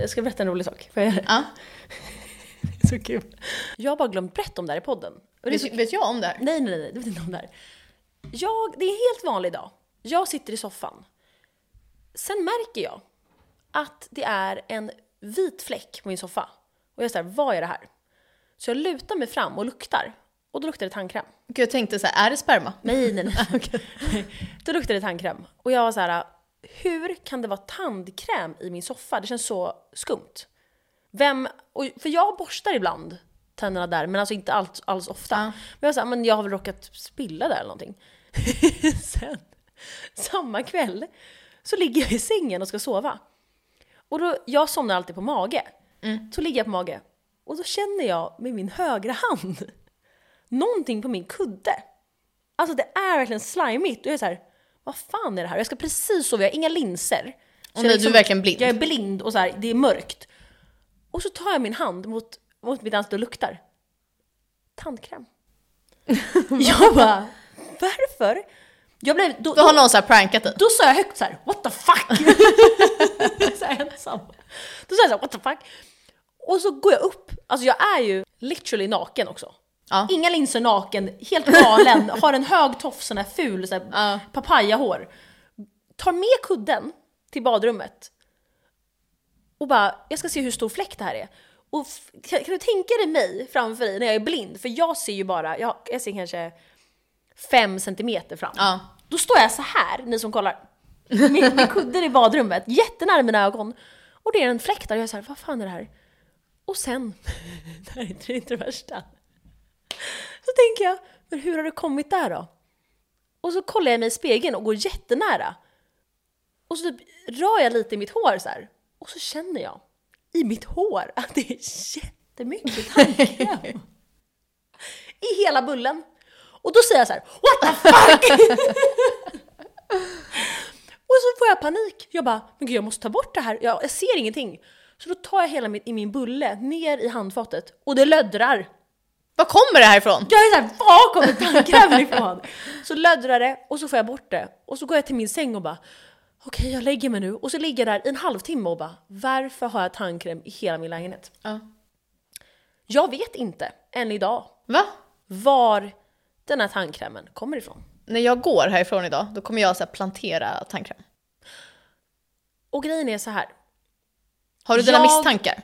Jag ska berätta en rolig sak. Får jag göra det? Ja. Så kul. Jag har bara glömt berätta om det här i podden. Och det är så... Vet, vet jag om det här? Nej, nej, nej, du vet inte om det här. Jag, det är en helt vanlig dag. Jag sitter i soffan. Sen märker jag att det är en vit fläck på min soffa. Och jag säger, vad är det här? Så jag lutar mig fram och luktar. Och då luktar det tandkräm. Gud, jag tänkte så här, är det sperma? Nej, nej, nej. Då luktade det tandkräm. Och jag var så här, hur kan det vara tandkräm i min soffa? Det känns så skumt. Vem, och, för jag borstar ibland tänderna där, men alltså inte alls, alls ofta. Ja. Men jag var så här, men jag har väl råkat spilla där eller någonting. Sen, samma kväll, så ligger jag i sängen och ska sova. Och då, jag somnar alltid på mage. Mm. Så ligger jag på mage. Och då känner jag med min högra hand någonting på min kudde. Alltså det är verkligen slimigt. Och jag är så här, vad fan är det här? Jag ska precis sova, jag har inga linser. Så Och jag liksom nej, du är verkligen blind. Jag är blind och så här, det är mörkt. Och så tar jag min hand mot, mot mitt ansikte och luktar. Tandkräm. jag bara, varför? Jag blev, då, Då då, har någon så här prankat dig. då sa jag högt så här, what the fuck? så här ensam. Då sa jag så här, what the fuck? Och så går jag upp, alltså jag är ju literally naken också. Ja. Inga linser naken, helt galen, har en hög tofs, sån här ful så här Ja. papayahår. Tar med kudden till badrummet och bara, jag ska se hur stor fläck det här är. Och f- kan, kan du tänka dig mig framför dig när jag är blind? För jag ser ju bara, jag, jag ser kanske fem centimeter fram. Ja. Då står jag så här, ni som kollar, med, med kudden i badrummet, jättenära mina ögon. Och det är en fläkt där jag är så här, vad fan är det här? Och sen, det här är inte- det är inte det värsta. Så tänker jag, men hur har det kommit där då? Och så kollar jag mig i spegeln och går jättenära. Och så typ rör jag lite i mitt hår så här. Och så känner jag i mitt hår att det är jättemycket tandkräm. I hela bullen. Och då säger jag så här, what the fuck! och så får jag panik. Jag bara, men gud jag måste ta bort det här. Jag, jag ser ingenting. Så då tar jag hela min, i min bulle ner i handfatet och det löddrar. Var kommer det här ifrån? Jag är såhär, var kommer tandkrämen ifrån? Så löddrar det och så får jag bort det. Och så går jag till min säng och bara, okej jag lägger mig nu. Och så ligger jag där i en halvtimme och bara, varför har jag tandkräm i hela min lägenhet? Ja. Jag vet inte, än idag, Va? var den här tandkrämen kommer ifrån. När jag går härifrån idag, då kommer jag så här plantera tandkräm. Och grejen är så här. Har du dina Jag- misstankar?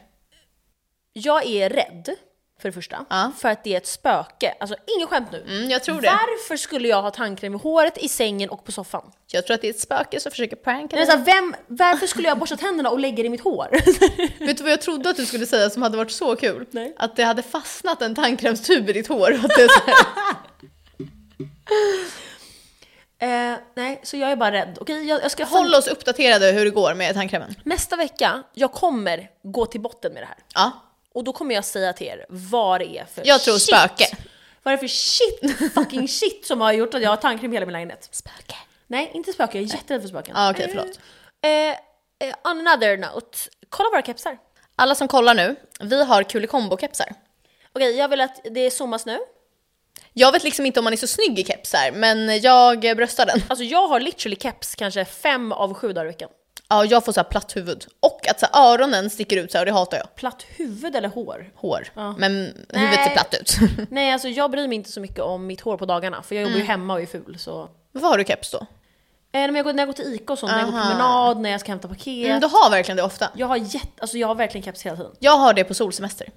jag är rädd, för det första, Ja. för att det är ett spöke. Alltså inget skämt nu. Mm, jag tror det. Varför skulle jag ha tandkräm i håret, i sängen och på soffan? Jag tror att det är ett spöke som försöker pranka Jag är dig. så här, vem, varför skulle jag borsta tänderna och lägga det i mitt hår? Vet du vad jag trodde att du skulle säga som hade varit så kul? Nej. Att det hade fastnat en tandkrämstub i ditt hår. och Att det är så här... Eh, nej, så jag är bara rädd. Okej, jag, jag ska Håll hålla... oss uppdaterade hur det går med tandkrämen. Nästa vecka, jag kommer gå till botten med det här. Ja. Och då kommer jag säga till er vad det är för Jag tror shit. spöke. Vad det är för shit, fucking shit som har gjort att jag har tandkräm i hela min lägenhet. Spöke. Nej, inte spöke. Jag är jätterädd för spöken. Ja, Ah, okej, förlåt. Eh, eh, on another note, kolla våra kepsar. Alla som kollar nu, vi har Kulikombo-kepsar. Okej, jag vill att det zoomas nu. Jag vet liksom inte om man är så snygg i kepsar, men jag eh, bröstar den. Alltså jag har literally keps kanske fem av sju dagar i veckan. Ja, jag får så här platt huvud. Och att så här, öronen sticker ut så här, och det hatar jag. Platt huvud eller hår? Hår. Men huvudet Nej. ser platt ut. Nej, alltså jag bryr mig inte så mycket om mitt hår på dagarna, för jag jobbar ju hemma och är ful så. Vad har du keps då? Eh, när, jag går, när jag går till Ica och sånt, när jag går på Aha. promenad, när jag ska hämta paket. Mm, du har verkligen det ofta. Jag har jätte, alltså jag har verkligen keps hela tiden. Jag har det på solsemester.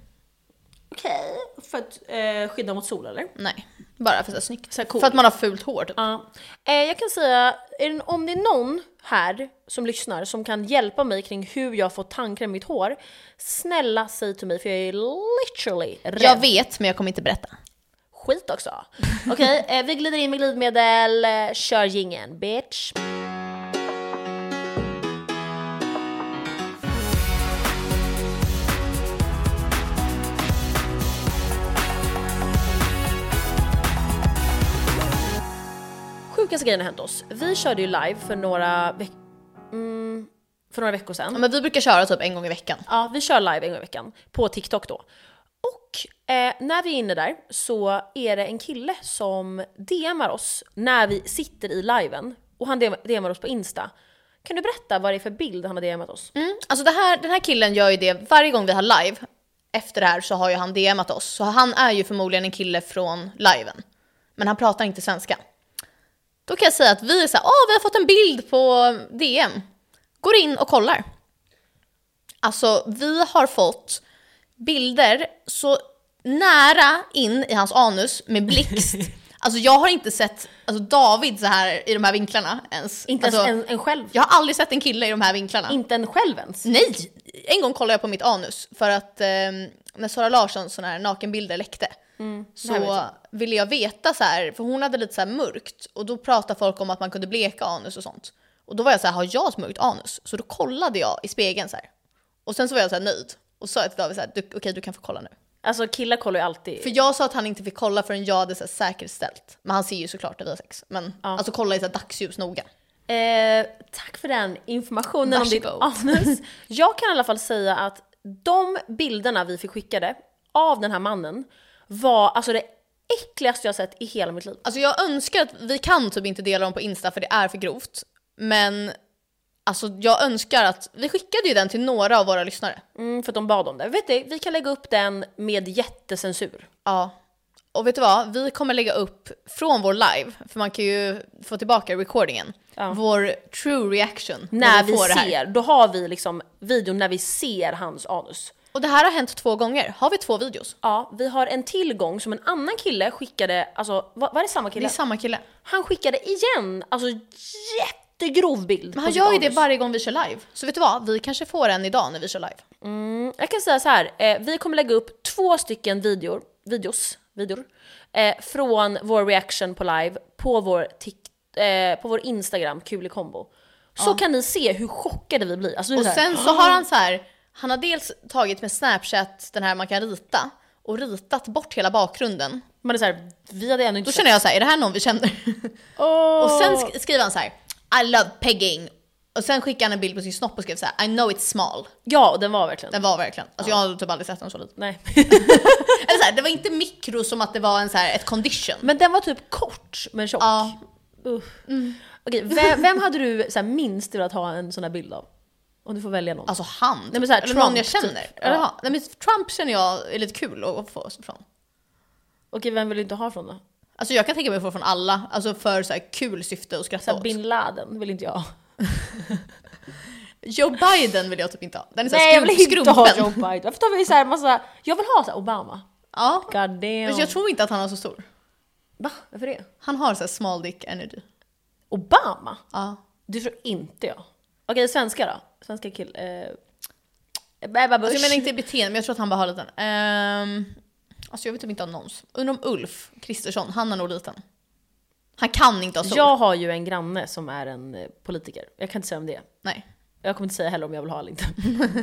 Okej, för att eh, skydda mot sol eller? Nej, bara för att det är snyggt. Så här cool. För att man har fult hår typ. Ja. Eh, jag kan säga, är det, om det är någon här som lyssnar som kan hjälpa mig kring hur jag får tandkräm i mitt hår, snälla säg till mig för jag är literally rädd. Jag vet, men jag kommer inte berätta. Skit också. Okej, eh, vi glider in med glidmedel, eh, kör jingeln bitch. Sjukaste grejen har hänt oss. Vi körde ju live för några, veck- mm, för några veckor sedan. Ja, men vi brukar köra typ en gång i veckan. Ja, vi kör live en gång i veckan på TikTok då. Och eh, när vi är inne där så är det en kille som DMar oss när vi sitter i liven och han DM- DMar oss på Insta. Kan du berätta vad det är för bild han har DMat oss? Mm. Alltså det här, den här killen gör ju det varje gång vi har live. Efter det här så har ju han DMat oss. Så han är ju förmodligen en kille från liven. Men han pratar inte svenska. Då kan jag säga att vi är såhär, åh vi har fått en bild på DM. Går in och kollar. Alltså vi har fått bilder så nära in i hans anus med blixt. Alltså jag har inte sett alltså, David så här i de här vinklarna ens. Inte alltså, ens en, en själv. Jag har aldrig sett en kille i de här vinklarna. Inte en själv ens. Nej! En gång kollade jag på mitt anus för att eh, när Sara Larsson sån här nakenbilder läckte Mm, det här vet så ville jag veta så här, för hon hade lite så här mörkt och då pratade folk om att man kunde bleka anus och sånt. Och då var jag så här, har jag ett mörkt anus? Så då kollade jag i spegeln så här. Och sen så var jag så här nöjd och sa till David så här, du, okej du kan få kolla nu. Alltså killar kollar ju alltid. För jag sa att han inte fick kolla förrän jag hade så här säkerställt. Men han ser ju såklart när vi har sex. Men alltså kolla i så här dagsljus noga. Eh, tack för den informationen om ditt Varsågod. anus. Jag kan i alla fall säga att de bilderna vi fick skickade av den här mannen var alltså det äckligaste jag sett i hela mitt liv. Alltså jag önskar att vi kan typ inte dela dem på Insta för det är för grovt. Men alltså jag önskar att, vi skickade ju den till några av våra lyssnare. Mm, för att de bad om det. Vet du, vi kan lägga upp den med jättecensur. Ja. Och vet du vad, vi kommer lägga upp från vår live, för man kan ju få tillbaka recordingen, vår true reaction När vi får det här. ser, då har vi liksom videon när vi ser hans anus. Och det här har hänt två gånger, har vi två videos? Ja, vi har en tillgång som en annan kille skickade, alltså var, var det samma Det kille? är samma kille. han skickade igen, alltså jättegrov bild Men på han sitt gör ju anus. det varje gång vi kör live. Så vet du vad, vi kanske får en idag när vi kör live. Jag kan säga så här, eh, vi kommer lägga upp två stycken videor, videos, videor eh, från vår reaction på live på vår, Tik- eh, på vår Instagram, kul i kombo. Så kan ni se hur chockade vi blir. Alltså, det är Och så här, sen så har han så här, han har dels tagit med Snapchat, den här man kan rita, och ritat bort hela bakgrunden. man är så här, vi hade ännu inte Då känner jag så här, är det här någon vi känner? Och sen sk- skriver han så här, I love pegging. Och sen skickar han en bild på sin snopp och skrev så här, I know it's small. Ja, den var verkligen. Den var verkligen, alltså jag har typ aldrig sett den så liten. Nej. Eller så här, det var inte mikro som att det var en så här, ett condition. Men den var typ kort men tjock. Ja, Usch. Okej, vem, vem hade du så här, minst velat ha en sån här bild av? Om du får välja någon. alltså han. Nej, men så här, eller någon Trump, jag känner. typ. Eller, Ja. han. Nej, men Trump känner jag är lite kul att att få från. Okej, vem vill du inte ha från då? Alltså jag kan tänka mig att få från alla, alltså för så här kul syfte och Så skratta här, åt. bin Laden vill inte jag ha. Joe Biden vill jag typ inte ha. Den är så här Nej jag vill skrum- inte ha Joe skrumpen. Biden. Varför tar vi så här massa... Jag vill ha så här Obama. Ja. God damn. Men jag tror inte att han är så stor. Va? Varför det? Han har så här small dick energy. Obama? Ja. Alltså, Det tror inte jag. Okej, svenska då? Svenska kill... Eh, Ebba Busch. Alltså jag menar inte i beteende, men jag tror att han bara har liten. Um, alltså jag vet typ inte om någons. Undrar om Ulf Kristersson, han är nog liten. Han kan inte ha stor. jag har ju en granne som är en eh, politiker. Jag kan inte säga om det är. Nej. Jag kommer inte säga heller om jag vill ha eller inte.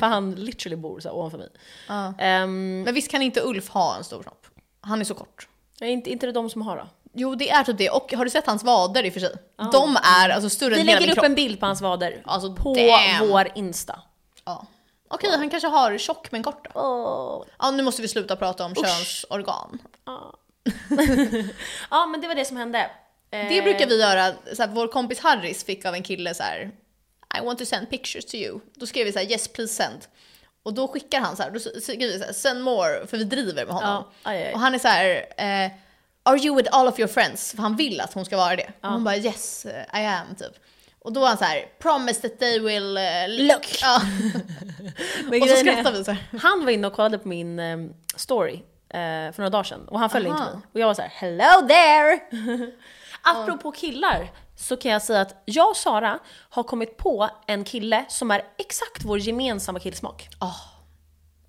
För han literally bor så här ovanför mig. Ja. Ehm, Men visst kan inte Ulf ha en stor snopp? Han är så kort. är inte, inte det de som har då? Jo det är typ det, och har du sett hans vader i och för sig? De är alltså större Vi än hela min lägger upp kropp. en bild på hans vader. Alltså, på damn. vår Insta. Ja. Okej, han kanske har tjock men kort då. Åh. Ja, nu måste vi sluta prata om könsorgan. Ja. ja men det var det som hände. Eh, Det brukar vi göra, så här, vår kompis Harris fick av en kille så här. I want to send pictures to you. Då skrev vi så här yes please send. Och då skickar han så här, då skriver vi så här, send more, för vi driver med honom. Ja, aj, aj. Och han är så här, eh, are you with all of your friends? För han vill att hon ska vara det. Och hon bara yes eh, I am typ. Och då är han så här, promise that they will eh, look. Ja. Men Och så grejen är- skrattar vi så här. Han var inne och kollade på min eh, story eh, för några dagar sedan och han följde Aha. inte mig. Och jag var så här: hello there! Apropå killar så kan jag säga att jag och Sara har kommit på en kille som är exakt vår gemensamma killsmak.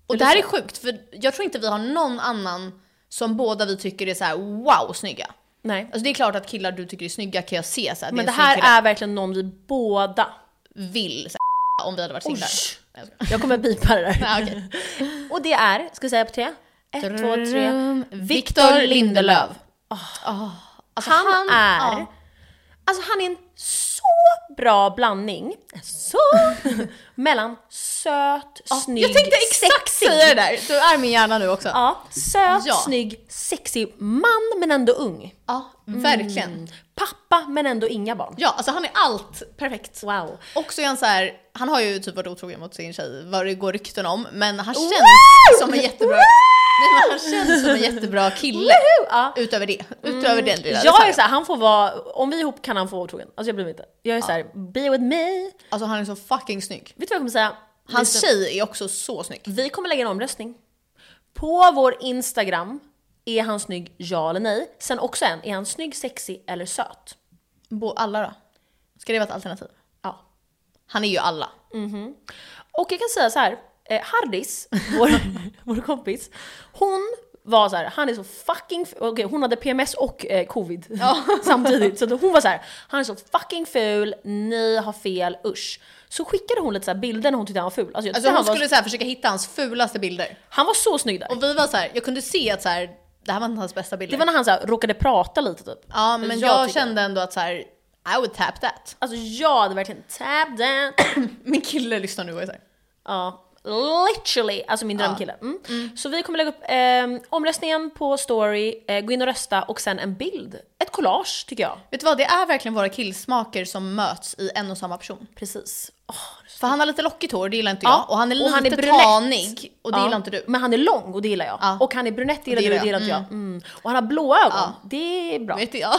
Och det här är sjukt, för jag tror inte vi har någon annan som båda vi tycker är så här wow snygga. Nej. Alltså det är klart att killar du tycker är snygga kan jag se så här, Men är det en snygg kille. här är verkligen någon vi båda... vill så här, om vi hade varit singlar. Oj. Nej, jag skojar. Jag kommer bipa det där. Nej, okej. Och det är, ska vi säga på tre? Ett, två, tre. Dröm. Victor Lindelöf. Ah. Åh. Alltså, Han ja. är... Alltså han är en så så bra blandning, så, mellan söt, snygg, jag tänkte exakt sexig. säga det där. Du är min hjärna nu också. Ja, söt, Ja. snygg, sexig man men ändå ung. Ja, mm. verkligen. Pappa men ändå inga barn. Ja, alltså han är allt perfekt. Wow. Och så är han så här, han har ju typ varit otrogen mot sin tjej, vad det går rykten om, men han känns som en jättebra... Nej, men han känns som en jättebra kille. Woho! Ja. Utöver det. Utöver den lilla Mm. Jag är detaljen. såhär, han får vara, om vi är ihop kan han få vara otrogen. Alltså jag blir inte. Jag är såhär, be with me. Vet Alltså han är så fucking snygg. du vad jag kommer säga? Hans Lisa, tjej är också så snygg. Vi kommer lägga en omröstning. På vår Instagram, är han snygg, ja eller nej? Sen också en, är han snygg, sexig eller söt? Bo, alla då? Ska det vara ett alternativ? Ja. Han är ju alla. Och jag kan säga så här. Eh, Hardis, vår, vår kompis, hon var så här, han är så fucking f- okej hon hade PMS och eh, covid samtidigt. Så att hon var så här, han är så fucking ful, ni har fel, usch. Så skickade hon lite så här bilder när hon tyckte han var ful. Alltså, jag tyckte Alltså hon han, skulle var, så här försöka hitta hans fulaste bilder. han var så snygg där. Och vi var så här, jag kunde se att så här, det här var inte hans bästa bilder. Det var när han så här, råkade prata lite typ. Ja, men Jag jag, tycker- kände ändå att så här, I would tap that. Alltså jag hade verkligen tapped that. Min kille lyssnar nu och är så här. Ja, literally. Alltså min drömkille. Mm. Så vi kommer lägga upp eh, omröstningen på story, eh, gå in och rösta och sen en bild. Ett collage tycker jag. Vet du vad, det är verkligen våra killsmaker som möts i en och samma person. Precis. Åh, det är så- För han har lite lockigt hår, det gillar inte Ja, jag. Och han är Mm, och han är lite brunett. tanig, och det Ja. gillar inte du. Men han är lång och det gillar jag. Ja. Och han är brunett det gillar Det du och gillar det gillar inte jag. Mm. Och han har blåa ögon. Ja. Det är bra. Åh Vet jag.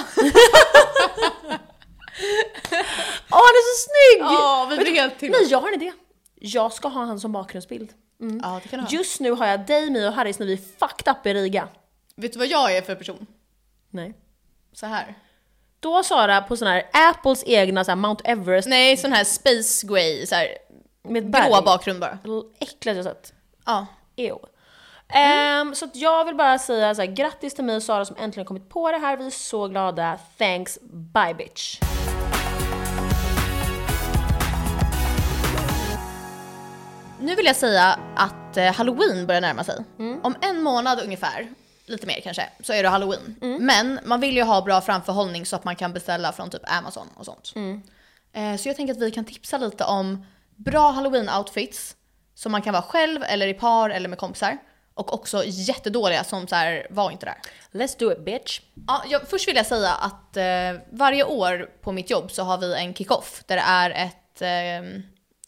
han är så snygg! Ja, vi blir helt till. Nej jag har en idé. Jag ska ha han som bakgrundsbild. Ja, det kan du ha. Just nu har jag dig, mig och Harris när vi är fucked up i Riga. Vet du vad jag är för person? Nej. Så här. Då Sara på sån här Apples egna så här Mount Everest Nej, sån här space grey, så här, med ett berg. grå bakgrund bara. Äckligt jag sett. Ja. Ew. Mm. Ehm, så att jag vill bara säga så här, grattis till mig och Sara som äntligen kommit på det här. Vi är så glada. Thanks, bye bitch. Nu vill jag säga att eh, halloween börjar närma sig. Om en månad ungefär, lite mer kanske, så är det halloween. Men man vill ju ha bra framförhållning så att man kan beställa från typ Amazon och sånt. Eh, Så jag tänker att vi kan tipsa lite om bra halloween-outfits som man kan vara själv eller i par eller med kompisar. Och också jättedåliga som så här, var inte där. Let's do it bitch. Ja, jag, först vill jag säga att eh, varje år på mitt jobb så har vi en kick-off där det är ett, eh,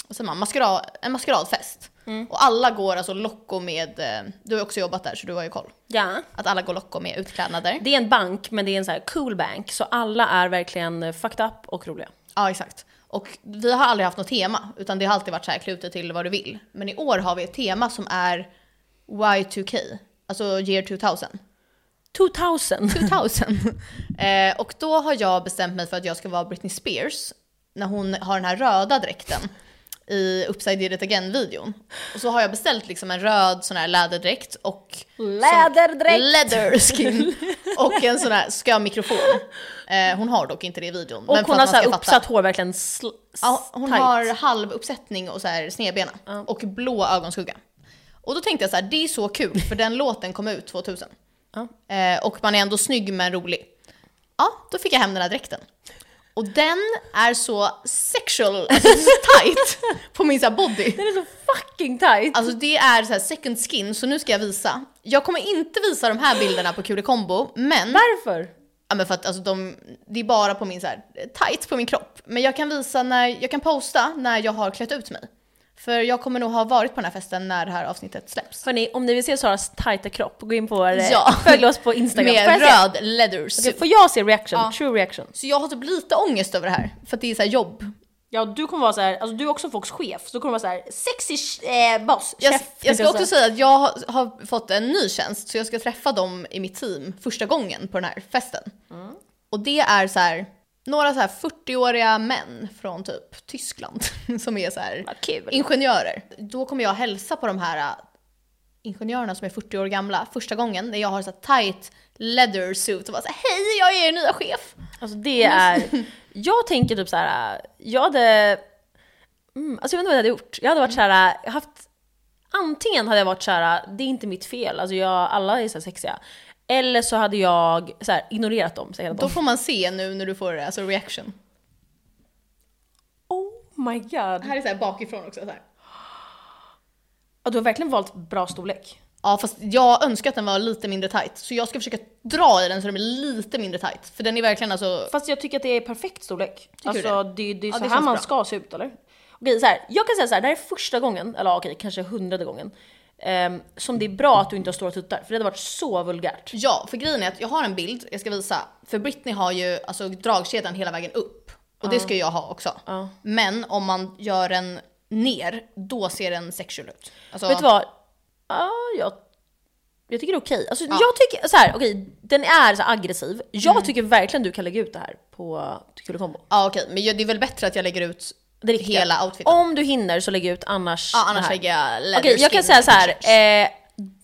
vad säger man, maskera- en maskeradfest. Och alla går alltså locko med, eh, du har också jobbat där så du har ju koll, Ja. att alla går locko med utklädnader. Det är en bank, men det är en så här cool bank. Så alla är verkligen eh, fucked up och roliga. Ja exakt. Och vi har aldrig haft något tema utan det har alltid varit så här klutet till vad du vill. Men i år har vi ett tema som är Y2K, alltså year 2000. 2000. 2000. eh, och då har jag bestämt mig för att jag ska vara Britney Spears när hon har den här röda dräkten i Upside Did It Again-videon. Och så har jag beställt liksom en röd sån här läderdräkt och Läderdräkt. Leatherskin. och en sån här skön mikrofon. Eh, hon har dock inte det i videon. Och men för hon har att så man här ska fatta. uppsatt hår verkligen sl- Ja, hon tight. har halv uppsättning och så här snedbena. Och blå ögonskugga. Och då tänkte jag så här, det är så kul för den låten kom ut 2000. Ja. Eh, och man är ändå snygg men rolig. Ja, då fick jag hem den här dräkten. Och den är så sexual, alltså tight på min så här body. Den är så fucking tight. Alltså det är så här second skin, så nu ska jag visa. Jag kommer inte visa de här bilderna på Kule Combo, men... Varför? Ja men för att alltså, de, det är bara på min så här, tights på min kropp. Men jag kan visa när, jag kan posta när jag har klätt ut mig. För jag kommer nog ha varit på den här festen när det här avsnittet släpps. Hörni, om ni vill se Saras tajta kropp, gå in på vår... eh, Ja. Följ oss på Instagram. Får jag Med se? röd leathers. Okej, Får jag se reaction? Ja. True reaction. Så jag har typ lite ångest över det här, för att det är så här jobb. Ja, du kommer vara så här, alltså du är också folks chef, så du kommer vara så här sexig eh, boss, Jag, chef. jag tänkte ska också säga. säga att jag har, har fått en ny tjänst, så jag ska träffa dem i mitt team första gången på den här festen. Mm. Och det är så här, några så här 40-åriga män från typ Tyskland som är så här... Vad kul. Ingenjörer. Då kommer jag hälsa på de här äh, ingenjörerna som är 40 år gamla första gången när jag har så här tight leather suit och bara så här, hej jag är er nya chef. Alltså det är, jag tänker typ så här, äh, jag hade, mm, alltså jag vet inte vad jag hade gjort. Jag hade varit så här, äh, jag haft, antingen hade jag varit så här, äh, det är inte mitt fel, alltså jag, alla är så här sexiga. Eller så hade jag så här, ignorerat dem. Så här, hela Då dagen. får man se nu när du får alltså reaction. Oh my god. Här är så här bakifrån också. Så här. Ja, du har verkligen valt bra storlek. Ja fast jag önskar att den var lite mindre tight. Så jag ska försöka dra i den så den blir lite mindre tight. För den är verkligen alltså... Fast jag tycker att det är perfekt storlek. du alltså det? det, det, är Ja, så det här känns man bra. ska se ut eller? Okej, så här, jag kan säga så här, det här är första gången, eller ja, okej kanske hundrade gången, ehm, som det är bra att du inte har stora tuttar. För det hade varit så vulgärt. Ja för grejen är att jag har en bild jag ska visa. För Britney har ju alltså dragkedjan hela vägen upp. Och det ska jag ha också. Men om man gör den ner, då ser den sexual ut. Alltså, Vet du vad? Ja, jag, jag tycker det är okej. Alltså, Jag tycker så här, okej, den är så här aggressiv. Jag Mm. tycker verkligen du kan lägga ut det här på Kulekombo. Ja okej, men jag- det är väl bättre att jag lägger ut Det riktiga. hela outfiten. Om du hinner så lägg ut, annars Ja, det annars här. lägger jag leather Okej, jag kan skin säga så här. t-shirts. Eh,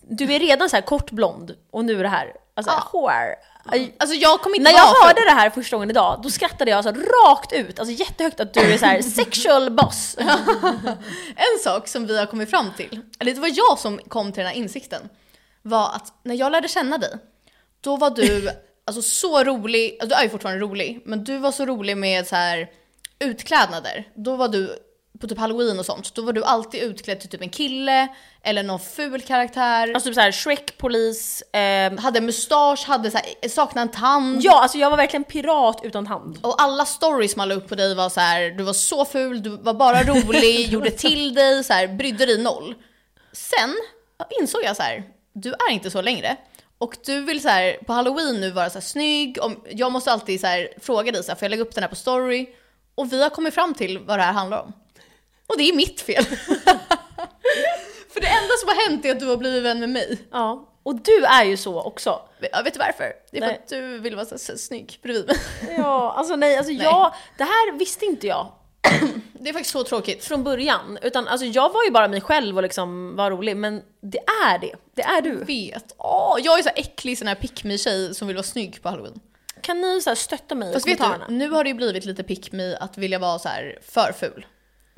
du är redan så här kort blond och nu är det här. Alltså Ja. hår. Aj. Alltså jag kommer inte När jag vara hörde det här första gången idag, då skrattade jag så här rakt ut, alltså jättehögt att du är så här sexual boss. En sak som vi har kommit fram till, eller det var jag som kom till den här insikten, var att när jag lärde känna dig, då var du alltså, så rolig, alltså, du är ju fortfarande rolig, men du var så rolig med så här, utklädnader. Då var du, på typ halloween och sånt, då var du alltid utklädd till typ en kille eller någon ful karaktär. Alltså typ så här Shrek, polis, ehm, hade mustasch, hade så här, saknade en tand. ja alltså jag var verkligen pirat utan hand. Och alla stories man la upp på dig var så här: du var så ful, du var bara rolig, gjorde till dig, så här, brydde dig noll. Sen insåg jag så här: du är inte så längre. Och du vill så här, på halloween nu vara så här, snygg, om, jag måste alltid så här, fråga dig, så här, får jag lägga upp den här på story? Och vi har kommit fram till vad det här handlar om. Och det är mitt fel. För det enda som har hänt är att du har blivit vän med mig. Ja. Och du är ju så också. Jag vet du varför? Det är för Nej. att du vill vara så, här, så här, snygg bredvid mig. Ja, alltså nej, alltså jag, det här visste inte jag Det är faktiskt så tråkigt. från början. Utan alltså jag var ju bara mig själv och liksom var rolig, men det är det. Det är du. vet. Åh, jag är så här äcklig sån här pick me tjej som vill vara snygg på halloween. Kan ni så här stötta mig Fast i vet kommentarerna? du, nu har det ju blivit lite pick me att vilja vara så här för ful.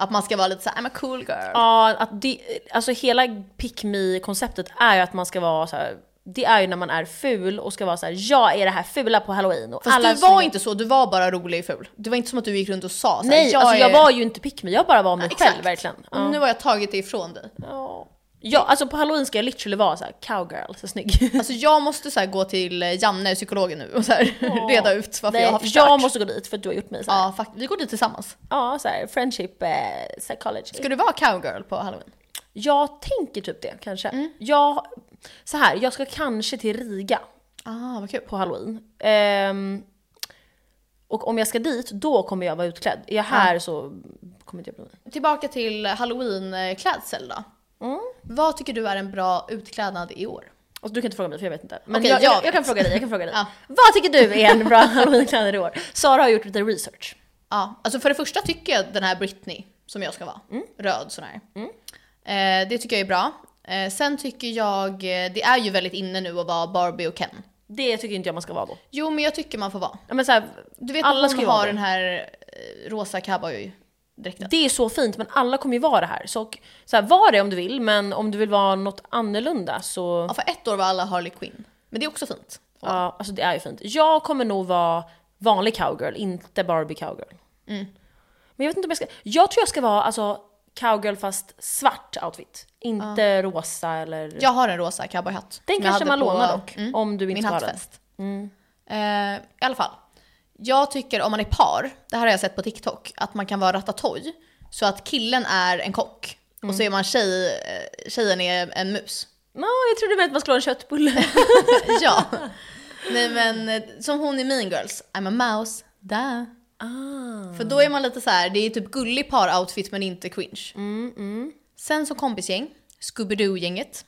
Att man ska vara lite så här, I'm a cool girl. Ja, att det, alltså hela pick me-konceptet är ju att man ska vara så här. Det är ju när man är ful och ska vara så här: jag är det här fula på halloween. Och Fast alla du som- var inte så, du var bara rolig och ful. Det var inte som att du gick runt och sa så här, Nej, jag, Mm. alltså, jag är- var ju inte pick me, jag bara var mig Exakt. själv verkligen. Och Nu har jag tagit det ifrån dig. Ja. ja, alltså på halloween ska jag literally vara så här cowgirl, så snygg. Alltså jag måste så här gå till eh, Janne, psykologen nu och så här, reda ut varför Nej, jag har förstört. jag måste gå dit för att du har gjort mig så här. Ja, fakt- vi går dit tillsammans. Ja, så här, friendship eh, psychology. Ska du vara cowgirl på halloween? Jag tänker typ det kanske. Jag, så här, jag ska kanske till Riga Ah, vad kul. på halloween. Ehm, och om jag ska dit, då kommer jag vara utklädd. Är jag här så kommer inte jag bli med. Tillbaka till halloween-klädsel då. Mm. Vad tycker du är en bra utklädnad i år? Alltså, du kan inte fråga mig för jag vet inte. Men Okej, jag, jag jag, jag, vet. kan fråga dig. Jag kan fråga dig. Ja. Vad tycker du är en bra halloweenklädnad i år? Sara har gjort lite research. Ja, alltså för det första tycker jag den här Britney, som jag ska vara, Mm. röd sån här. Eh, det tycker jag är bra. Eh, sen tycker jag, eh, det är ju väldigt inne nu att vara Barbie och Ken. Det tycker inte jag man ska vara då. Jo men jag tycker man får vara. Ja, Men så här, Du vet Alla Alla ska hon ju vara har det. den här eh, rosa cowboydräkten. det är så fint men alla kommer ju vara det här. Så, och- så här, var det om du vill men om du vill vara något annorlunda så... Ja, för ett år var alla Harley Quinn. Men det är också fint. Ja, alltså det är ju fint. Jag kommer nog vara vanlig cowgirl, inte Barbie cowgirl. Mm. Men jag vet inte om jag ska... Jag tror jag ska vara alltså, cowgirl fast svart outfit. Inte rosa eller... Jag har en rosa cowboyhatt. som den jag kanske hade man på- lånar dock, Mm. om du inte min ska ha den. hattfest. Mm. Eh, I alla fall. Jag tycker om man är par, det här har jag sett på TikTok, att man kan vara ratatouille. Så att killen är en kock och Mm. så är man tjej, eh, tjejen är en mus. Nå, jag trodde med att man skulle ha en köttbulle. ja. Nej men eh, som hon i Mean Girls, I'm a mouse, da. ah. För då är man lite så här, det är typ gullig par-outfit men inte cringe. Mm, Sen som kompisgäng, Scooby-Doo-gänget.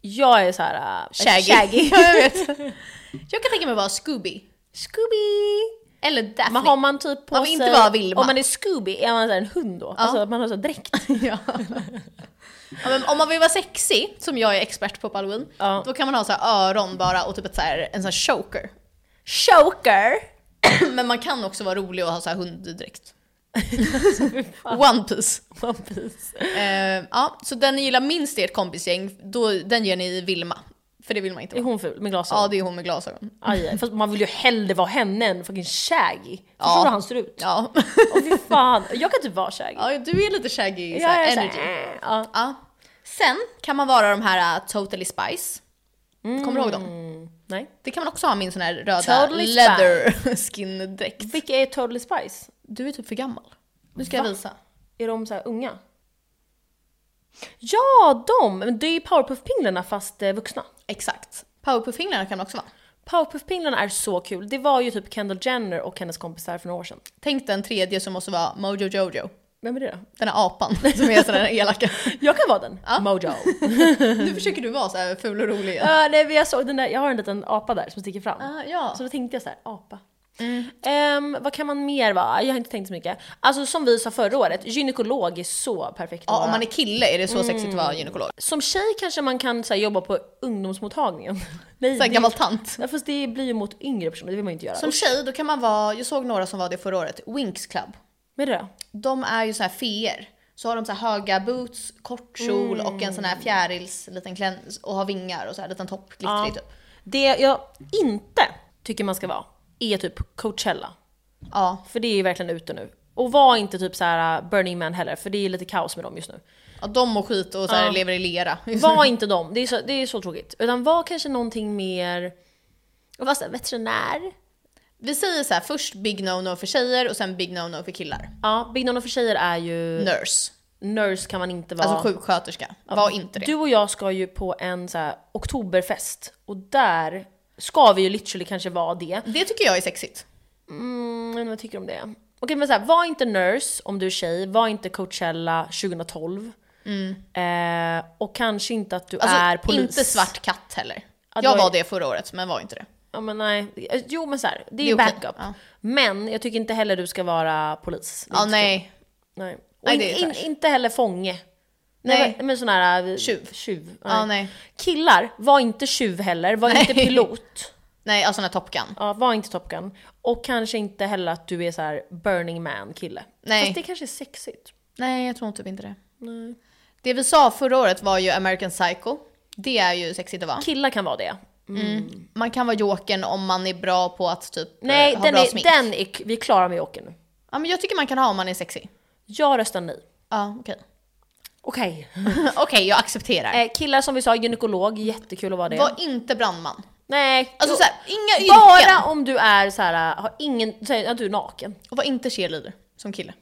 Jag är så här... äh, Shaggy. shaggy. Ja, jag vet. Jag kan tänka mig vara Scooby. Scooby! Eller Daphne. Men har man typ på Man vill inte sig- vara Vilma. Om man är Scooby, är man så här en hund då? Alltså man har så här dräkt. Ja. ja, men om man vill vara sexig, som jag är expert på på halloween, Ja. då kan man ha så här öron bara och typ ett så här, en sån här choker. Choker! men man kan också vara rolig och ha så här hunddräkt. One piece. One Piece. Eh, ja, så den ni gillar minst i ert kompisgäng, då, den ger ni Vilma. För det vill man inte Är vara. hon ful med glasögon? Ja, det är hon med glasögon. Aj, aj. Fast man vill ju hellre vara henne än fucking Shaggy. Förstår Ja. du hur han ser ut? Ja. Åh fy fan, jag kan typ vara Shaggy. ja, du är lite shaggy Jag så här, är så här, energy. äh, ja. Ja. Sen kan man vara de här äh, Totally Spice. Mm. Kommer du ihåg dem? Nej. Det kan man också ha min sån här röda Totally leather skin-dräkt. Vilka är Totally Spice? Du är typ för gammal. Nu ska jag visa. Är de så här unga? Ja, de! Men det är ju Powerpuff-pinglarna fast eh, vuxna. Exakt. Powerpuff-fingrarna kan det också vara. Powerpuff-pinglarna är så kul. Det var ju typ Kendall Jenner och hennes kompisar för några år sedan. Tänk den tredje som måste vara Mojo Jojo. Vem är det då? Den här apan som är sån här elaka. Jag kan vara den. Mojo. Nu försöker du vara så här ful och rolig. igen. Ja, nej, men jag, såg den där, jag har en liten apa där som sticker fram. Ah, ja. Mm. Så då tänkte jag så här, apa. Ehm, vad kan man mer vara? Jag har inte tänkt så mycket. Alltså som vi sa förra året, gynekolog är så perfekt att Ja, om vara. man är kille är det så sexigt att vara gynekolog. Som tjej kanske man kan så här, jobba på ungdomsmottagningen. nej, Så här det- gammal tant. Nej, fast det blir ju mot yngre personer, det vill man ju inte göra. Som tjej, då kan man vara, jag såg några som var det förra året, Winx Club. Vad är det då? De är ju så här feer. Så har de så här höga boots, kort kjol och en sån här fjärils liten klän och har vingar och så här liten topp, glittrig typ. Det jag inte tycker man ska vara är typ Coachella. Ja. För det är ju verkligen ute nu. Och var inte typ så här uh, Burning Man heller, för det är lite kaos med dem just nu. ja, de mår skit och så här lever i lera. Var inte dem, det är så, det är så tråkigt. Utan var kanske någonting mer... Och var så här, veterinär. Vi säger så här, först big no-no för tjejer och sen big no-no för killar. Ja, Big Nono för tjejer är ju... Nurse, Nurse kan man inte vara. alltså sjuksköterska. Var inte det. du och jag ska ju på en så här oktoberfest. Och där ska vi ju literally kanske vara det. Det tycker jag är sexigt. Mm, men vad tycker du om det? Okej men så här, var inte nurse om du är tjej, var inte Coachella 2012. Eh, och kanske inte att du Mm. Alltså, är polis. inte svart katt heller. Ja, jag då är- var det förra året, men var inte det. Ja, men nej. Jo men så här, det är Det är ju okej, backup. ja. Men jag tycker inte heller du ska vara polis. Ja, nej. nej. Och Nej, in, det är in, trash. inte heller fånge. Nej. Nej. Men sån här... eh, Tjuv. tjuv. Ja, nej. Killar, var inte tjuv heller, var inte Nej. pilot. Nej, alltså den här Top Gun. Ja, var inte Top Gun. Och kanske inte heller att du är så här Burning Man kille. Nej. Fast det kanske är sexigt. Nej, jag tror typ inte det. Det vi sa förra året var ju American Psycho. Det är ju sexigt att vara. Killar kan vara det. Man kan vara jokern om man är bra på att typ Nej, eh, ha den bra är, smink. den är, vi är klara med Jokern nu. Ja, men jag tycker man kan ha om man är sexig. Jag röstar nej. Ja, okej. Okej. okej, jag accepterar. Eh, killar som vi sa, gynekolog, jättekul att vara det. Var inte brandman. Nej. Jo, Alltså såhär, inga yrken. bara om du är så här, har ingen, säg att du är naken. Och var inte cheerleader som kille.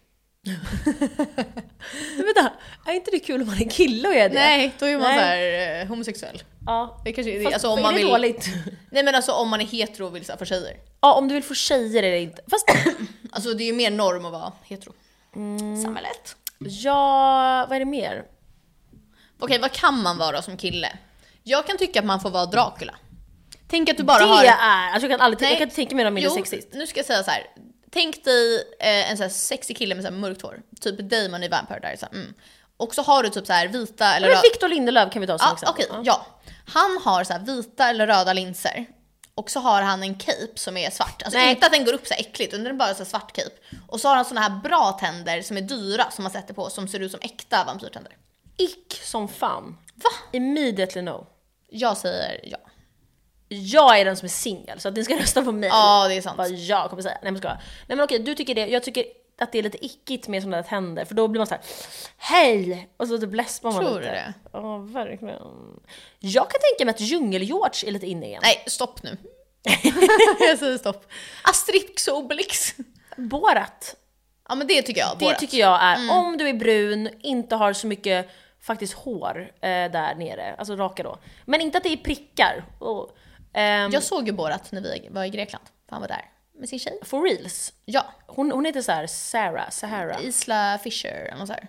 Men vänta, är inte det kul om man är kille och är det? Nej, då är man Nej. såhär eh, homosexuell. Ja. Det kanske, Fast, alltså, om är man det vill, dåligt? Nej men alltså om man är hetero och vill så här, få tjejer. Ja, om du vill få tjejer eller inte. Fast Alltså det är ju mer norm att vara hetero. Mm. Samhället. ja, vad är det mer? Okej, vad kan man vara som kille? Jag kan tycka att man får vara Dracula. Tänk att du bara det har... är, alltså jag kan aldrig, Nej. jag kan inte tänka mig något mindre sexist. nu ska jag säga så här. Tänk dig eh, en så här sexig kille med så här mörkt hår. Typ Damon i Vampire Diaries. så här, Mm. Och så har du typ så här vita eller Men rö- Victor Lindelöf kan vi ta som Ja, exempel. Ah, okej, ja. Han har så här vita eller röda linser. Och så har han en cape som är svart. Alltså Nej. inte att den går upp så här äckligt, utan den är bara så här svart cape. Och så har han såna här bra tänder som är dyra som man sätter på som ser ut som äkta vampyrtänder. Ick som fan. Va? Immediately no. Jag säger ja. jag är den som är singel så att ni ska rösta på mig. Ja, det är sant. Vad jag kommer säga. Nej men ska jag. Nej men okej, du tycker det. Jag tycker att det är lite ickigt med sådana där tänder för då blir man så här: hej! Och så typ läspar man Tror lite. du det? Ja, verkligen. Jag kan tänka mig att djungel-George är lite inne igen. Nej, stopp nu. jag säger stopp. Asterix och Obelix. Borat. Ja men det tycker jag. Det tycker jag är, om du är brun, inte har så mycket faktiskt hår eh, där nere, alltså raka då. Men inte att det är prickar. Oh. Ehm, jag såg ju Borat när vi var i Grekland. för Han var där med sin tjej. For reals. Ja. Hon, hon heter så här Sarah, Sahara, Mm. Isla Fisher eller något sånt.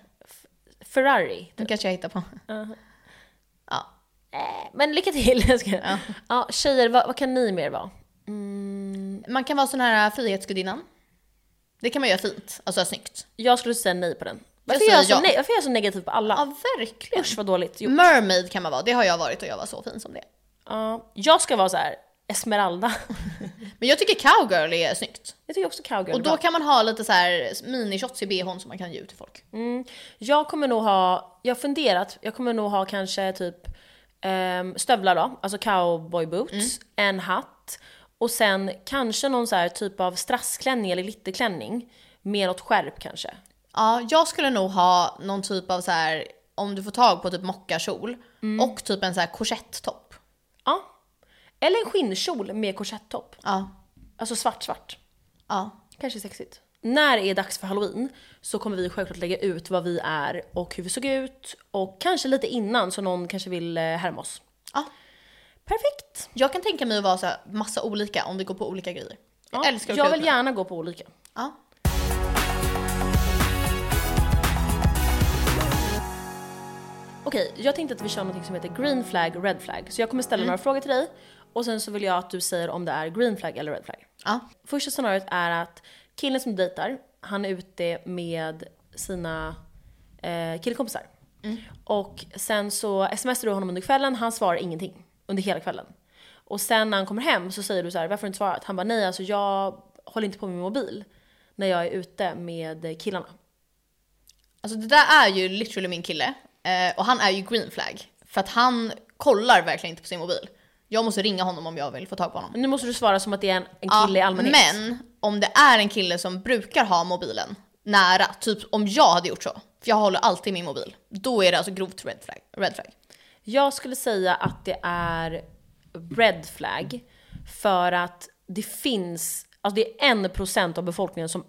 Ferrari. Nu kanske jag hittar på. Ja. Eh, Men lycka till! Jag ska. Ja. tjejer, vad, vad kan ni mer vara? Man kan vara sån här äh, frihetsgudinnan. Det kan man göra fint, alltså snyggt. Jag skulle säga nej på den. Varför, säger är, jag så ja. ne- varför är jag så negativ på alla? Ja verkligen. Usch vad dåligt. Jo. Mermaid kan man vara, det har jag varit och jag var så fin som det. Ja, jag ska vara så här Esmeralda. Men jag tycker cowgirl är snyggt. Jag tycker också cowgirl Och är då bra. kan man ha lite så här minishots i bhn som man kan ge ut Mm. till folk. Jag kommer nog ha, jag har funderat, jag kommer nog ha kanske typ Ehm, stövlar då, alltså cowboy Mm. boots, en hatt och sen kanske någon så här typ av strassklänning eller glitterklänning med något skärp kanske. Ja, jag skulle nog ha någon typ av så här, om du får tag på typ mockakjol Mm. och typ en så här korsetttopp. Ja. Eller en skinnkjol med korsettopp. Ja, Alltså svart svart. ja. Kanske sexigt. När det är dags för halloween så kommer vi självklart lägga ut vad vi är och hur vi såg ut och kanske lite innan så någon kanske vill eh, härma oss. Ja. Perfekt! Jag kan tänka mig att vara så här, massa olika om det går på olika grejer. Jag älskar att jag klä vill ut mig. gärna gå på olika. ja. Okej, jag tänkte att vi kör något som heter green flag, red flag. Så jag kommer Mm. ställa några frågor till dig och sen så vill jag att du säger om det är green flag eller red flag. ja. Första scenariot är att killen som du dejtar, han är ute med sina eh, killkompisar. Mm. Och sen så smsar du honom under kvällen, han svarar ingenting under hela kvällen. Och sen när han kommer hem så säger du så här, varför har du inte svarat? Han bara, nej alltså jag håller inte på med min mobil när jag är ute med killarna. Alltså det där är ju literally min kille. Eh, och han är ju green flag. För att han kollar verkligen inte på sin mobil. Jag måste ringa honom om jag vill få tag på honom. Men nu måste du svara som att det är en, en kille i Ja, allmänhet. Men om det är en kille som brukar ha mobilen nära, typ om jag hade gjort så, för jag håller alltid min mobil, då är det alltså grovt red flag. Red flag. Jag skulle säga att det är red flag för att det finns, alltså det är en procent av befolkningen som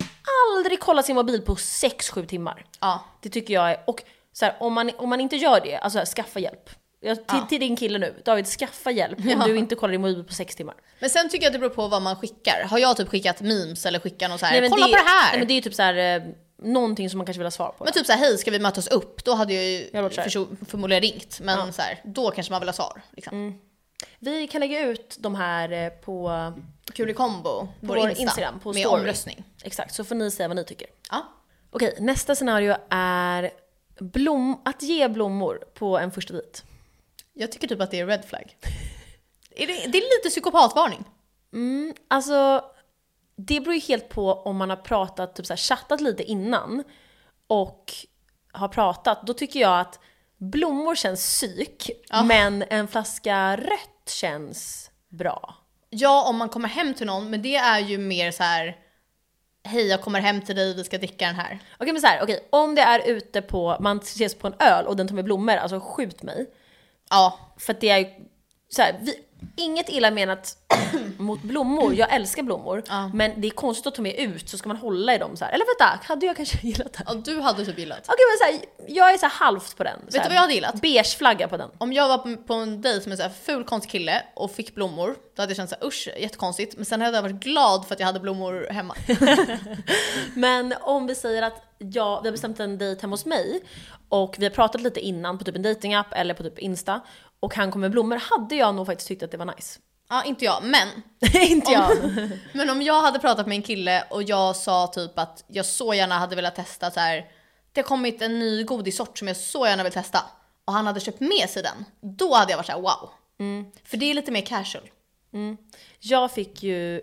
aldrig kollar sin mobil på 6-7 timmar. Ja. Det tycker jag är, och så här, om, man, om man inte gör det, alltså så här, skaffa hjälp. Jag, till, Ja. till din kille nu, David skaffa hjälp om Ja. du inte kollar din mobil på 6 timmar. Men sen tycker jag att det beror på vad man skickar. Har jag typ skickat memes eller skickat något så här, men kolla det, på det här! Nej, men men, det är ju typ så här, eh, någonting som man kanske vill ha svar på. typ så här, hej ska vi mötas upp? Då hade jag ju Jag låter så här. förso- förmodligen ringt, men så här, då kanske man vill ha svar. Liksom. Vi kan lägga ut de här eh, på, Kul i kombo, på vår vår Insta, Instagram, på med story. omröstning. exakt, så får ni säga vad ni tycker. Ja. Okej, nästa scenario är blom, att ge blommor på en första dejt. Jag tycker typ att det är red flag. är det, det är lite psykopatvarning. Mm, alltså, det beror ju helt på om man har pratat, typ så här, chattat lite innan och har pratat. Då tycker jag att blommor känns psyk, men en flaska rött känns bra. Ja, om man kommer hem till någon, men det är ju mer så här. Hej, jag kommer hem till dig, vi ska dricka den här. Okej men så här, okej, om det är ute på, man ses på en öl och den tar med blommor, alltså skjut mig. Ja, För att det är så här, vi, inget illa menat mot blommor, jag älskar blommor. Ja. Men det är konstigt att ta med ut så ska man hålla i dem så här. Eller vänta, hade jag kanske gillat det? ja du hade typ gillat. Okej men så här, jag är så här halvt på den. så Vet här, du vad jag hade gillat? Beige flagga på den. Om jag var på- på en dejt med en så här ful konstig kille och fick blommor, då hade jag känt såhär usch, jättekonstigt. Men sen hade jag varit glad för att jag hade blommor hemma. Men om vi säger att jag, vi har bestämt en dejt hemma hos mig och vi har pratat lite innan på typ en datingapp eller på typ Insta och han kommer med blommor hade jag nog faktiskt tyckt att det var nice. Ja, inte jag, men Inte jag. Men om jag hade pratat med en kille och jag sa typ att jag så gärna hade velat testa så här. Det har kommit en ny godissort som jag så gärna vill testa. Och han hade köpt med sig den. Då hade jag varit så här: wow. För det är lite mer casual. Jag fick ju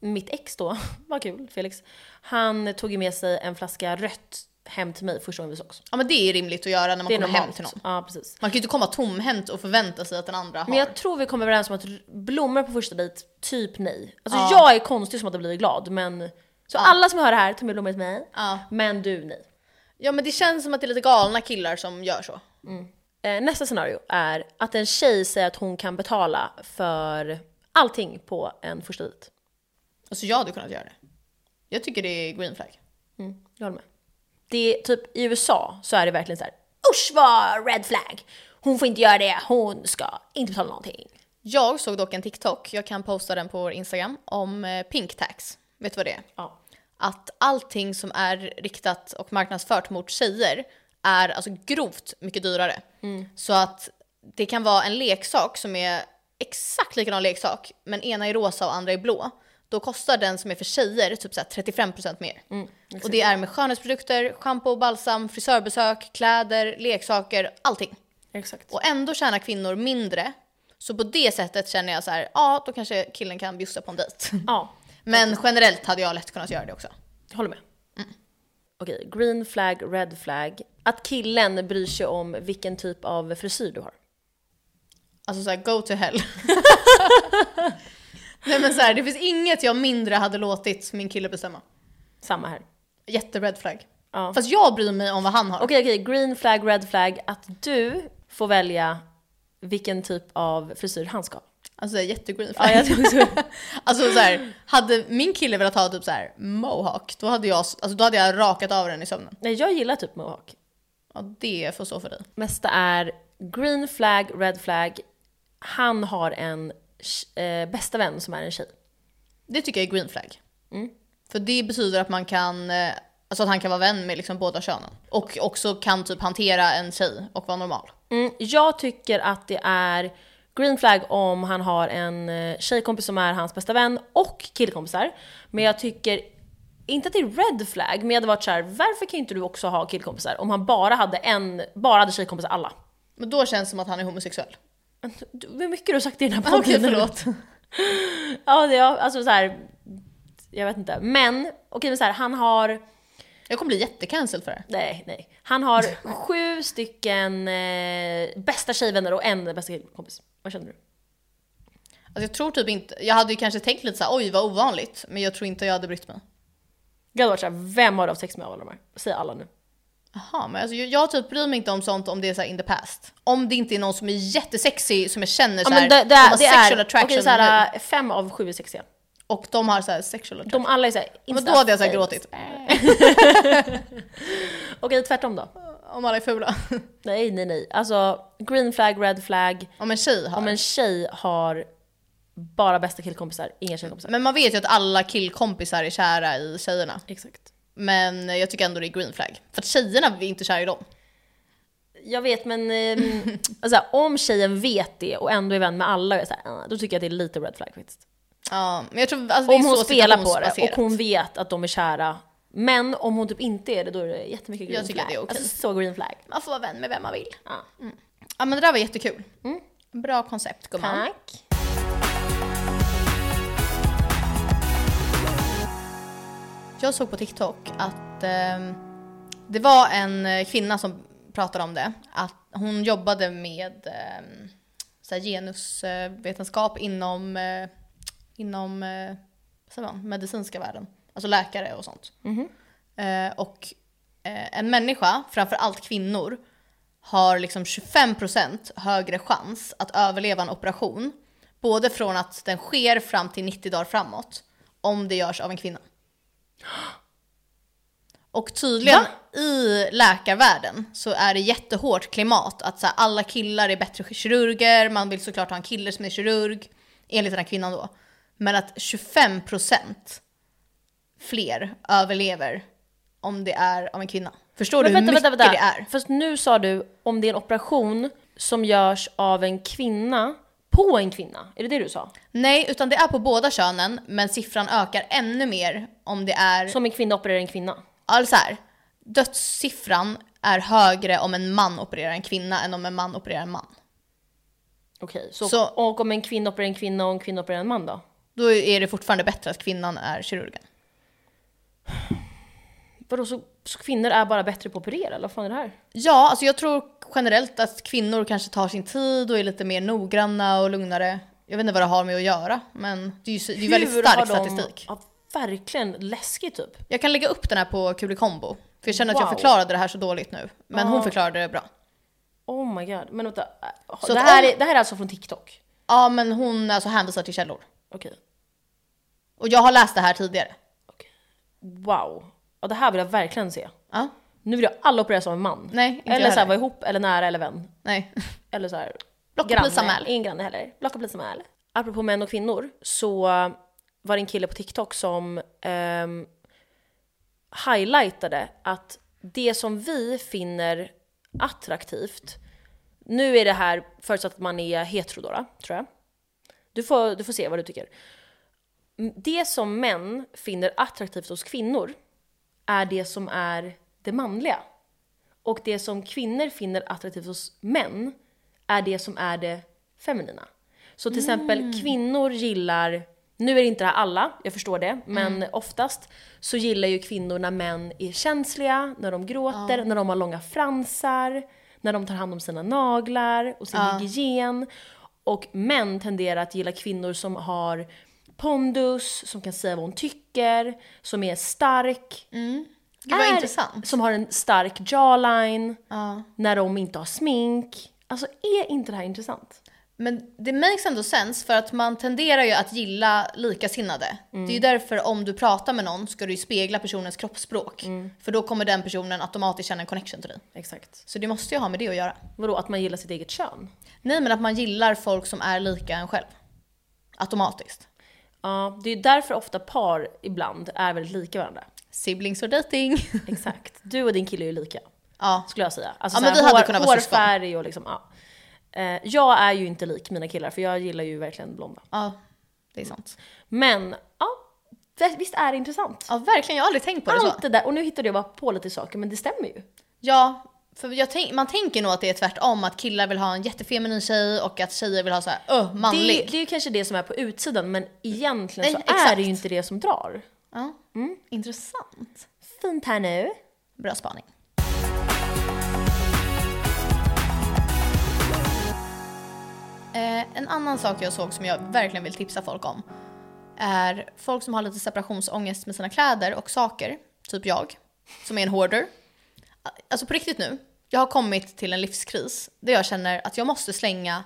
mitt ex då, vad kul Felix, han tog ju med sig en flaska rött hem till mig första gången vi sågs. Ja men det är rimligt att göra när man Det är kommer normalt. hem till någon. Ja, precis. Man kan ju inte komma tomhänt och förvänta sig att den andra har. Men jag tror vi kommer överens om att r- blommor på första dejt, typ nej. Alltså Ja. jag är konstig som att jag blir glad men... Så alla som hör det här, ta med blommor till mig. Ja. Men du, nej. Ja men det känns som att det är lite galna killar som gör så. Eh, nästa scenario är att en tjej säger att hon kan betala för allting på en första dejt. Alltså jag hade kunnat göra det. Jag tycker det är green flag. Mm, jag håller med. Det är, typ, I USA så är det verkligen så här: usch vad red flag! Hon får inte göra det, hon ska inte betala någonting. Jag såg dock en TikTok, jag kan posta den på vår Instagram, om eh, pink tax. Vet du vad det är? Ja. att allting som är riktat och marknadsfört mot tjejer är alltså grovt mycket dyrare. Så att det kan vara en leksak som är exakt likadan leksak, men ena är rosa och andra är blå. Då kostar den som är för tjejer typ så här 35% mer. och det är med skönhetsprodukter, shampoo, balsam, frisörbesök, kläder, leksaker, allting. Exakt. Och ändå tjänar kvinnor mindre. Så på det sättet känner jag så här, ja då kanske killen kan bjussa på en dejt. Ja, Men generellt hade jag lätt kunnat göra det också. jag håller med. Okej, green flag, red flag. Att killen bryr sig om vilken typ av frisyr du har. Alltså såhär, go to hell. Nej men såhär, det finns inget jag mindre hade låtit min kille bestämma. Samma här. Jättered flag. Ja. Fast jag bryr mig om vad han har. Okej, okej. Green flag, red flag. Att du får välja vilken typ av frisyr han ska ha. Alltså jättegreen Ja, flag. jag tror också. Alltså såhär, hade min kille velat ha typ såhär mohawk, då hade jag, alltså, då hade jag rakat av den i sömnen. Nej, jag gillar typ mohawk. Ja, det får stå för dig. Nästa är green flag, red flag. Han har en tj- eh, bästa vän som är en tjej. Det tycker jag är green flag. Mm. För det betyder att man kan, eh, alltså att han kan vara vän med liksom båda könen. Och också kan typ hantera en tjej och vara normal. Mm, jag tycker att det är green flag om han har en eh, tjejkompis som är hans bästa vän och killkompisar. Men jag tycker inte att det är red flag, men jag hade varit så här: varför kan inte du också ha killkompisar? Om han bara hade en, bara hade tjejkompisar alla. Men då känns det som att han är homosexuell. Du, hur mycket du har sagt i den här podden. Okej, förlåt. Ja, det, ja, alltså så här. jag vet inte. Men, okej men så här, han har Jag kommer bli jättecancelled för det här. Nej, nej. Han har sju stycken eh, bästa tjejvänner och en bästa killkompis. Vad känner du? Alltså jag tror typ inte, jag hade ju kanske tänkt lite såhär oj vad ovanligt, men jag tror inte jag hade brytt mig. Jag hade varit såhär, vem har du haft sex med av alla de här? Säg alla nu. Jaha, men alltså jag, jag typ bryr mig inte om sånt om det är såhär in the past. Om det inte är någon som är jättesexig som jag känner Ja, såhär, men det, som har det, det sexual är, attraction okej nu, såhär, fem av sju är sexiga. och de har såhär sexual attraction. De alla är såhär, men då hade jag såhär insta-famous. gråtit. Okej, tvärtom då. Om alla är fula. Nej, nej, nej. Alltså, green flag, red flag. om en tjej har. Om en tjej har bara bästa killkompisar, inga tjejkompisar. Men man vet ju att alla killkompisar är kära i tjejerna. Exakt. Men jag tycker ändå det är green flag. För att tjejerna är inte kära i dem. Jag vet men ehm, alltså, om tjejen vet det och ändå är vän med alla, jag är så här, "Ah", då tycker jag att det är lite red flag faktiskt. Ja, men jag tror alltså det är Om hon så spelar på det situationsbaserat. och hon vet att de är kära. Men om hon typ inte är det, då är det jättemycket green Jag tycker flag. att det är okej. Alltså så green flag. Man får vara vän med vem man vill. Mm. Ja. Mm. Ja men det där var jättekul. Bra koncept gumman. Tack. Jag såg på TikTok att ehm, det var en eh, kvinna som pratade om det. Att hon jobbade med ehm, så här genusvetenskap inom, eh, inom eh, vad säger man, medicinska världen. Alltså läkare och sånt. Eh, och eh, en människa, framförallt kvinnor, har liksom 25% högre chans att överleva en operation. Både från att den sker fram till 90 dagar framåt, om det görs av en kvinna. Och tydligen i läkarvärlden så är det jättehårt klimat att så här, alla killar är bättre kirurger, man vill såklart ha en kille som är kirurg, enligt den här kvinnan då. Men att 25% fler överlever om det är av en kvinna. Förstår Men du vänta, hur mycket vänta, vänta. det är? Fast nu sa du om det är en operation som görs av en kvinna på en kvinna. Är det det du sa? Nej, utan det är på båda könen, men siffran ökar ännu mer om det är... Som en kvinna opererar en kvinna. Alltså här, dödssiffran är högre om en man opererar en kvinna än om en man opererar en man. Okej, så, Så- och om en kvinna opererar en kvinna och en kvinna opererar en man då? Då är det fortfarande bättre att kvinnan är kirurgen. Vadå, så, så kvinnor är bara bättre på att operera? Eller vad fan är det här? Ja, alltså jag tror generellt att kvinnor kanske tar sin tid och är lite mer noggranna och lugnare. Jag vet inte vad det har med att göra, men det är ju så- det är väldigt Hur stark har de- statistik. Ja, verkligen läskigt typ. Jag kan lägga upp den här på Kulikombo, för jag känner att jag Wow. förklarade det här så dåligt nu. Men hon Ja. förklarade det bra. Oh my god. Men vänta. Så det, att här om- är, det här är alltså från TikTok? Ja, men hon alltså hänvisar till källor. Okej. Och jag har läst det här tidigare. okej. Wow. Ja, det här vill jag verkligen se. Ja, Nu vill jag alla opereras av en man. Nej, inte jag eller så här, heller. vara ihop, eller nära, eller vän. nej. Eller så här, Block och polisanmäl. Ingen granne heller. Block och polisanmäl. Apropå män och kvinnor så var det en kille på TikTok som ehm, highlightade att det som vi finner attraktivt, nu är det här förutsatt att man är hetero då, då, tror jag. Du får, du får se vad du tycker. Mm, Det som män finner attraktivt hos kvinnor är det som är det manliga. Och det som kvinnor finner attraktivt hos män är det som är det feminina. Så till exempel kvinnor gillar, nu är det inte det här alla, jag förstår det, men oftast så gillar ju kvinnor när män är känsliga, när de gråter, när de har långa fransar, när de tar hand om sina naglar och sin hygien. Och män tenderar att gilla kvinnor som har pondus, som kan säga vad hon tycker, som är stark. Gud vad är- intressant. Som har en stark jawline, Ja. när de inte har smink. Alltså är inte det här intressant? Men det makes ändå sens för att man tenderar ju att gilla likasinnade. Det Mm. är ju därför om du pratar med någon ska du ju spegla personens kroppsspråk. Mm. För då kommer den personen automatiskt känna en connection till dig. Exakt. Så det måste ju ha med det att göra. Vadå, att man gillar sitt eget kön? Nej men att man gillar folk som är lika en själv. Automatiskt. Ja, det är därför ofta par ibland är väldigt lika varandra. Siblings och dating. Exakt. Du och din kille är ju lika, ja. skulle jag säga. Alltså, Ja, så här, men vi hade hår, kunnat vara syskon. hårfärg och liksom, ja. Eh, jag är ju inte lik mina killar, för jag gillar ju verkligen blonda. ja, det är sant. Men, ja. vi- Visst är det intressant? Ja verkligen, jag har aldrig tänkt på det så. Allt det där, och nu hittade jag bara på lite saker, men det stämmer ju. Ja, för jag tänk, man tänker nog att det är tvärtom. Att killar vill ha en jättefeminin tjej och att tjejer vill ha så här, öh, manlig. Det, det är ju kanske det som är på utsidan, men egentligen så Nej, exakt. är det ju inte det som drar. Ja. Mm. Intressant. Fint här nu. Bra spaning. Eh, en annan sak jag såg som jag verkligen vill tipsa folk om är folk som har lite separationsångest med sina kläder och saker, typ jag, som är en hoarder. Alltså på riktigt nu, jag har kommit till en livskris där jag känner att jag måste slänga,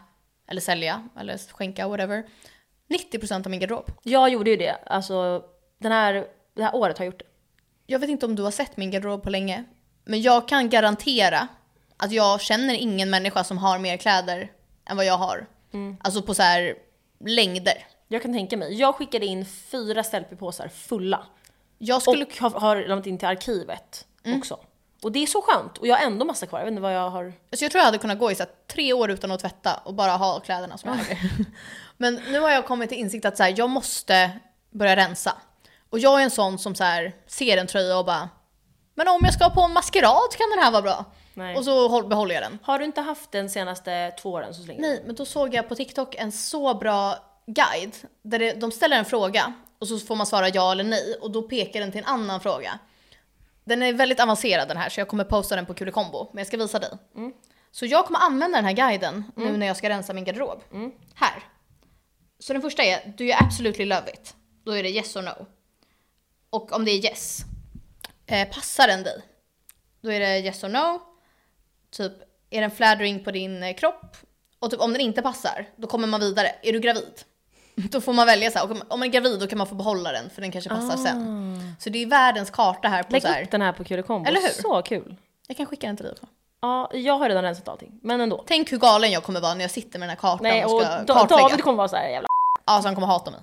eller sälja, eller skänka, whatever, 90% av min garderob. Jag gjorde ju det, alltså den här, det här året har jag gjort det. Jag vet inte om du har sett min garderob på länge, men jag kan garantera att jag känner ingen människa som har mer kläder än vad jag har. Mm. Alltså på så här längder. Jag kan tänka mig. Jag skickade in fyra ställpåsar fulla. Jag Och skulle... Mm. har, har lämnat in till arkivet också. Och det är så skönt. Och jag har ändå massa kvar. Jag vet inte vad jag har... Alltså jag tror jag hade kunnat gå i så här tre år utan att tvätta och bara ha kläderna som jag äger. Men nu har jag kommit till insikt att så här, jag måste börja rensa. Och jag är en sån som så här, ser en tröja och bara “men om jag ska på en maskerad kan den här vara bra”. Nej. Och så håll- behåller jag den. Har du inte haft den senaste två åren så slänger du. Nej, men då såg jag på TikTok en så bra guide där det, de ställer en fråga och så får man svara ja eller nej och då pekar den till en annan fråga. Den är väldigt avancerad den här så jag kommer posta den på Kulikombo, men jag ska visa dig. Så jag kommer använda den här guiden nu när jag ska rensa min garderob. Här. Så den första är, do you absolutely love it? Då är det yes or no. Och om det är yes, eh, passar den dig? Då är det yes or no. Typ, är den flattering på din eh, kropp? Och typ om den inte passar, då kommer man vidare. Är du gravid? Då får man välja så här. Och om- Om man är gravid då kan man få behålla den för den kanske passar sen. Så det är världens karta här på Ah. Lägg så här. upp den här på Kulekombo. Eller hur? Så kul. Jag kan skicka den till dig också. Ja, jag har redan rensat allting. Men ändå. Tänk hur galen jag kommer vara när jag sitter med den här kartan Nej, och och ska Da- kartlägga. David kommer vara så här jävla Ja, så han kommer hata mig.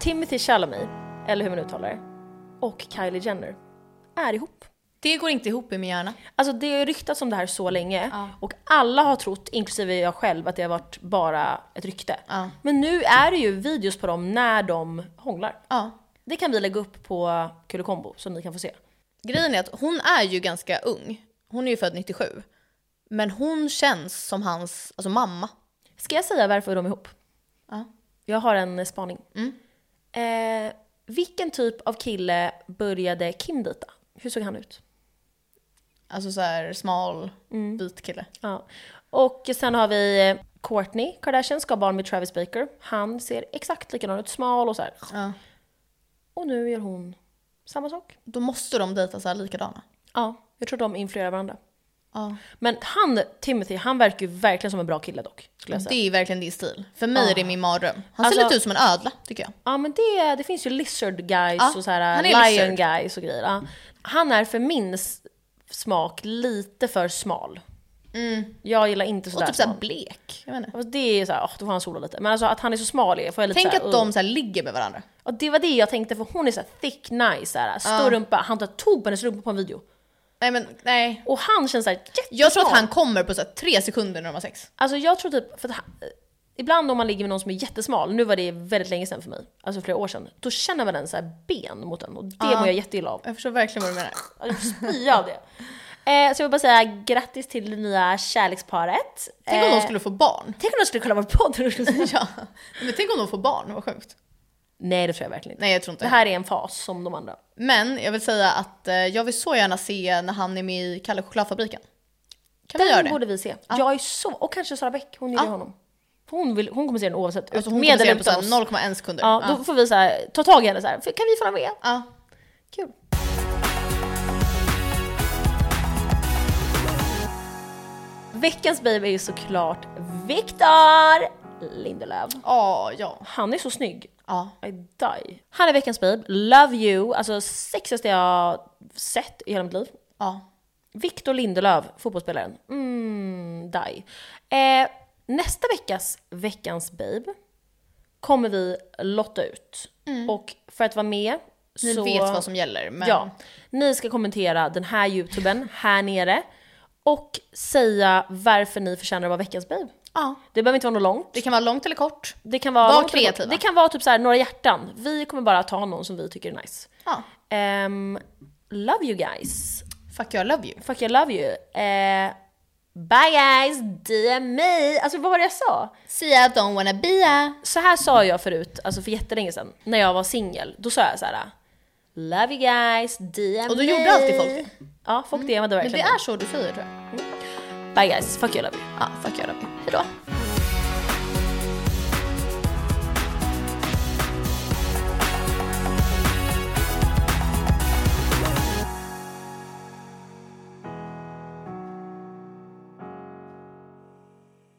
Timothy Chalamet, eller hur man uttalar det, och Kylie Jenner är ihop. Det går inte ihop i min hjärna. Alltså det har ryktats om det här så länge Ja. och alla har trott, inklusive jag själv, att det har varit bara ett rykte. Ja. Men nu är det ju videos på dem när de hånglar. Ja. Det kan vi lägga upp på Kulekombo så ni kan få se. Grejen är att hon är ju ganska ung. Hon är ju född 97. Men hon känns som hans alltså mamma. Ska jag säga varför de är ihop? Ja. Jag har en spaning. Mm. Eh, vilken typ av kille började Kim dejta? Hur såg han ut? Alltså så här smal, vit kille. Ja. Och sen har vi eh, Courtney Kardashian, ska ha barn med Travis Baker. Han ser exakt likadan ut, smal och så här. Ja. Och nu gör hon samma sak. Då måste de dejta så här likadana. Ja, jag tror de influerar varandra. Ja. Men han, Timothy, han verkar ju verkligen som en bra kille dock. Skulle jag Det säga. är verkligen din stil. För mig är det min mardröm. Han Alltså- ser lite ut som en ödla tycker jag. Ja men det, det finns ju lizard guys Ja, och så här, han är lion lizard. guys och grejer. Ja. Han är för min s- smak lite för smal. Jag gillar inte sådär Mm. Och typ så här smal. blek. Jag vet inte. Alltså, det är såhär, åh, då får han sola lite. Men alltså att han är så smal är- får jag lite Tänk såhär, att ugh. de så här ligger med varandra. Ja, det var det jag tänkte för hon är såhär thick, nice, såhär, stor rumpa. Han tar tog på hennes rumpa på en video. Nej men nej. Och han känns såhär jättesmal. Jag tror att han kommer på så här tre sekunder när de har sex. Alltså jag tror typ, för att han, ibland om man ligger med någon som är jättesmal, nu var det väldigt länge sedan för mig, alltså flera år sedan, då känner man en så här ben mot en och det mår jag jätteilla av. Jag förstår verkligen vad du menar. Jag får spya av det. Eh, så jag vill bara säga grattis till det nya kärleksparet. Tänk om Eh, de skulle få barn. Tänk om de skulle kolla vår podd och de skulle säga Ja. Men tänk om de får barn, vad sjukt. Nej det tror jag verkligen inte. Nej jag tror inte Det här är en fas som de andra. Men jag vill säga att eh, jag vill så gärna se när han är med i Kalle Chokladfabriken. Kan vi göra Den det? borde vi se. Jag är så, och kanske Sara Bäck, hon gillar honom. Hon, vill, hon kommer se den oavsett. Alltså hon Med kommer se eller den på utan oss. såhär 0,1 sekunder. Ja, då får vi så här, ta tag i henne så här. Kan vi följa med? Ja. Kul. Veckans baby är ju såklart Viktor Lindelöf. Ja, ja. Han är så snygg. ja. I die. Han är veckans babe. Love you. Alltså sexigaste jag sett i hela mitt liv. ja. Victor Lindelöf, fotbollsspelaren. Mm, die. Eh, nästa veckas Veckans Babe kommer vi lotta ut. Och för att vara med Mm. Ni så... vet vad som gäller. Men... Ja. Ni ska kommentera den här youtuben här nere och säga varför ni förtjänar att vara Veckans Babe. ja. Det behöver inte vara något långt. Det kan vara långt eller kort. Det kan vara, Var långt eller kort. kreativa. Det kan vara typ så här, några hjärtan. Vi kommer bara ta någon som vi tycker är nice. Ja. Ehm, love you guys. Fuck you, I love you. Fuck I love you. Eh, bye guys, DM me. Alltså vad var det jag sa? See I don't wanna be a... Så här sa jag förut, alltså för jättelänge sedan, när jag var singel. Då sa jag så här. Love you guys, DM me. Och då gjorde alltid folk det. Ja, folk DMade Men det verkligen. är så du säger tror jag. Bye guys, fuck you, I love you. Ja, fuck you, I love you. Hejdå.